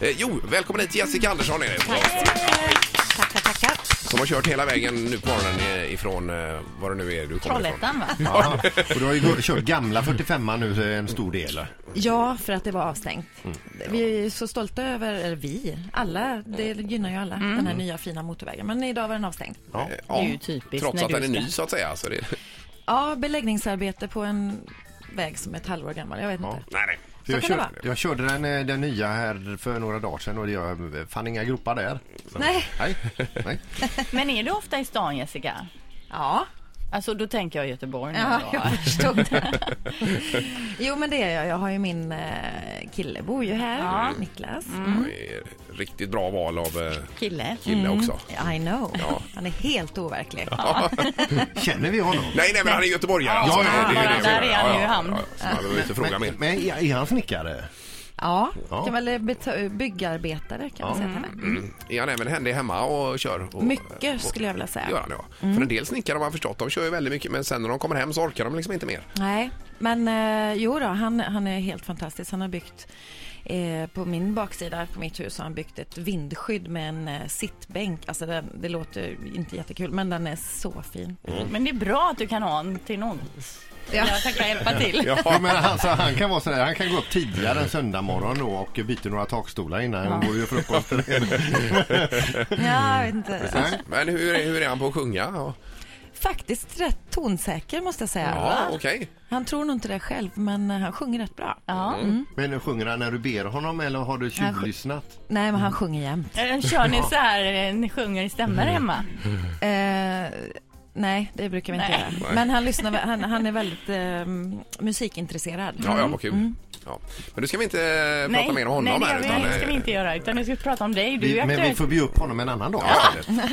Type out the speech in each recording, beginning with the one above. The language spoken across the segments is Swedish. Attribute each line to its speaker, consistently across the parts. Speaker 1: Eh, jo, välkommen hit Jessica Andersson är det.
Speaker 2: Tackar, tackar.
Speaker 1: Som har kört hela vägen nu på morgonen eh, ifrån, eh, var det nu är du kommer ifrån.
Speaker 2: Trollhättan, va?
Speaker 3: Ja. Och du har ju gå- kört gamla 45 nu eh, en stor del. eller?
Speaker 2: Ja, för att det var avstängt. Vi är så stolta över, eller vi, alla, det gynnar ju alla, den här nya fina motorvägen. Men idag var den avstängd.
Speaker 1: Ja.
Speaker 4: Det är ju typiskt
Speaker 1: Trots
Speaker 4: när
Speaker 1: att
Speaker 4: du
Speaker 1: den är
Speaker 4: ska-
Speaker 1: ny så att säga. Så det,
Speaker 2: Ja, beläggningsarbete på en väg som är ett halvår gammal, jag vet inte.
Speaker 1: nej, nej.
Speaker 2: Så
Speaker 3: jag,
Speaker 2: kan det
Speaker 3: kör,
Speaker 2: vara.
Speaker 3: jag körde den, eh, den nya här för några dagar sedan och jag fann inga gropar där. Så-
Speaker 2: Nej.
Speaker 3: Nej. Nej.
Speaker 4: Men är du ofta i stan Jessica?
Speaker 2: Ja,
Speaker 4: Alltså då tänker jag Göteborg nu
Speaker 2: ja
Speaker 4: då.
Speaker 2: jag förstod det. Jo, men det är jag. Jag har ju min eh, kille, bor ju här, Niklas.
Speaker 1: Det är Riktigt bra val av eh,
Speaker 4: Kille?
Speaker 1: kille också.
Speaker 2: I know. Han är helt overklig.
Speaker 3: Känner vi honom?
Speaker 1: Nej, nej, men han är göteborgare. alltså.
Speaker 3: ja,
Speaker 1: Det är ju
Speaker 3: bara
Speaker 1: det jag
Speaker 4: där
Speaker 1: menar.
Speaker 4: är han
Speaker 1: Ja,
Speaker 4: ju
Speaker 1: ja,
Speaker 4: hamn.
Speaker 1: ja, ja. Så Man behöver inte fråga mer.
Speaker 3: Men, men är är han snickare?
Speaker 2: Ja,
Speaker 3: Ja.
Speaker 2: kan väl beta- byggarbetare kan man säga att han är.
Speaker 1: Mm. Är han även händig hemma och kör? Och,
Speaker 2: Mycket skulle jag vilja säga.
Speaker 1: Gör han, ja. För en del snickare har man förstått, de kör ju väldigt mycket men sen när de kommer hem så orkar de liksom inte mer.
Speaker 2: Nej, men eh, jo då, han, han är helt fantastisk. Han har byggt eh, på min baksida på mitt hus har han byggt ett vindskydd med en eh, sittbänk. Alltså den, det låter ju inte jättekul men den är så fin.
Speaker 4: Men det är bra att du kan ha en till något.
Speaker 2: Ja.
Speaker 4: Jag ska hjälpa till.
Speaker 3: Ja, men han, så han kan vara sådär, han kan gå upp tidigare en söndag morgon då och byta några takstolar innan han går ju frukost.
Speaker 2: Ja, jag vet inte.
Speaker 3: Nej.
Speaker 1: Men hur är, hur är han på att sjunga? Ja,
Speaker 2: Faktiskt rätt tonsäker måste jag säga.
Speaker 1: ja okej.
Speaker 2: Han tror nog inte det själv men eh, han sjunger rätt bra.
Speaker 4: Ja.
Speaker 1: Mm.
Speaker 3: Men sjunger han när du ber honom eller har du
Speaker 2: Han sj-
Speaker 3: tjuvlyssnat?
Speaker 2: Nej men han sjunger jämt.
Speaker 4: Eh, Kör ni så här, eh, ni sjunger i stämmer
Speaker 1: Mm.
Speaker 4: hemma?
Speaker 2: Eh, nej, det brukar vi inte
Speaker 4: Nej.
Speaker 2: göra. Men han, lyssnar, vä- han, han är väldigt eh, musikintresserad.
Speaker 1: Ja, ja, vad kul. Ja. Men nu ska vi inte eh, prata mer om honom
Speaker 4: nej,
Speaker 1: här.
Speaker 4: det, gör vi- det ska
Speaker 1: eh,
Speaker 4: vi inte göra. Utan nu ska vi prata om dig. Du är
Speaker 3: Vi,
Speaker 4: ju
Speaker 3: men vi
Speaker 4: aktuell.
Speaker 3: får bjuda upp honom en annan dag istället.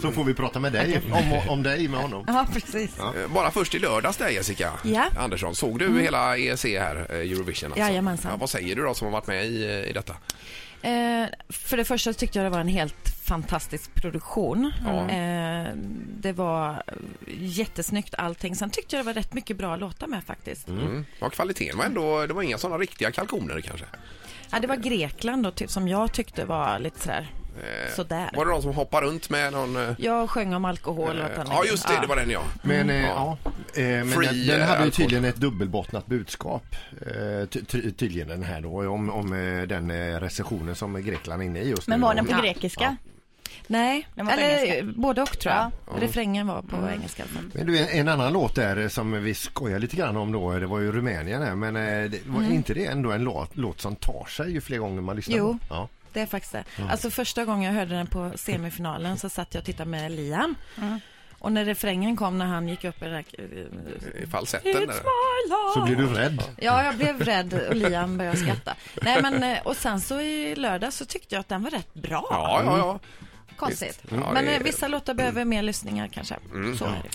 Speaker 3: Så får vi prata med dig om, om dig med honom.
Speaker 2: Ja, precis.
Speaker 1: eh, Bara först i lördags där Jessica
Speaker 2: Ja.
Speaker 1: Andersson, såg du hela EEC här, eh, Eurovision alltså?
Speaker 2: Jajamensan.
Speaker 1: Ja, vad säger du då som har varit med i, eh, i detta?
Speaker 2: Eh, för det första så tyckte jag det var en helt fantastisk produktion. Eh, det var jättesnyggt allting. Sen tyckte jag det var rätt mycket bra låtar med faktiskt.
Speaker 1: Mm. Ja, kvaliteten var ändå, det var inga sådana riktiga kalkoner kanske.
Speaker 2: Ja, det var Grekland då, ty- som jag tyckte var lite sådär,
Speaker 1: Eh,
Speaker 2: sådär.
Speaker 1: Var det de som hoppar runt med någon... eh,
Speaker 2: Jag sjöng om alkohol och att han-
Speaker 1: Ja, just det, det var den ja.
Speaker 3: Men, eh, ja. eh, men
Speaker 1: Free,
Speaker 3: den,
Speaker 1: eh,
Speaker 3: den hade ju
Speaker 1: alkohol.
Speaker 3: tydligen ett dubbelbottnat budskap. Eh, ty, ty, tydligen den här då, om, om eh, den eh, recessionen som Grekland är inne i just
Speaker 4: Men
Speaker 3: nu.
Speaker 4: var
Speaker 3: då.
Speaker 4: den på
Speaker 3: Ja.
Speaker 4: grekiska?
Speaker 2: Nej,
Speaker 4: Den var på
Speaker 2: eller
Speaker 4: engelska. Mm.
Speaker 2: både och tror jag. Refrängen var på engelska. i alla fall.
Speaker 3: Men du, en- en annan låt där eh, som vi skojar lite grann om då, eh, det var ju Rumänien där, men eh, det,
Speaker 4: Mm.
Speaker 3: var inte det ändå en låt, låt som tar sig ju fler gånger man lyssnar
Speaker 2: Jo.
Speaker 3: på? Ja.
Speaker 2: Det är faktiskt det. Alltså första gången jag hörde den på semifinalen så satt jag och tittade med Liam.
Speaker 4: Mm.
Speaker 2: Och när refrängen kom när han gick upp i den här... eh,
Speaker 1: I falsetten där.
Speaker 3: Så blir du rädd?
Speaker 2: Ja, jag blev rädd och Liam började skratta. Nej, men, eh, och sen så i lördag så tyckte jag att den var rätt bra.
Speaker 1: Ja, ja, ja.
Speaker 2: Konstigt.
Speaker 1: visst. Ja,
Speaker 2: men
Speaker 1: det- Mm.
Speaker 2: eh, vissa låtar behöver mer lyssningar kanske. så är det.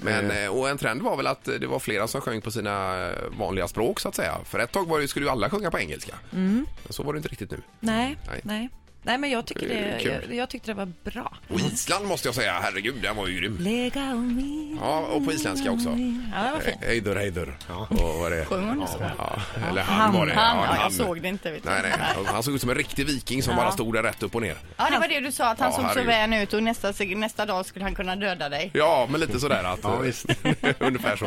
Speaker 1: Men, eh, och en trend var väl att det var flera som sjöng på sina eh, vanliga språk så att säga. För ett tag var det, skulle ju alla sjunga på engelska. Men så var det inte riktigt nu.
Speaker 2: Nej,
Speaker 1: Nej.
Speaker 2: nej. nej. men jag, tycker det,
Speaker 1: Kul.
Speaker 2: jag, jag tyckte det var bra.
Speaker 1: Och Island måste jag säga, herregud, den var ju grym.
Speaker 2: Lägga och min.
Speaker 1: Ja, och på isländska också. Eh,
Speaker 2: Ja, det var fint.
Speaker 1: Eidur, Eidur. Och vad var det?
Speaker 4: Sjöng hon så?
Speaker 1: Ja, eller han var det.
Speaker 4: Han,
Speaker 1: Ja,
Speaker 4: ja, jag såg det inte. Vet du.
Speaker 1: Nej, nej. Han- Han såg ut som en riktig viking som bara stod där rätt upp och ner.
Speaker 4: Ja, det var det du sa, att han
Speaker 1: Ja,
Speaker 4: såg så
Speaker 1: herregud.
Speaker 4: vän ut och nästa, nästa dag skulle han kunna döda dig.
Speaker 1: Ja, men lite sådär att... eh,
Speaker 3: Ja, visst.
Speaker 1: ungefär så.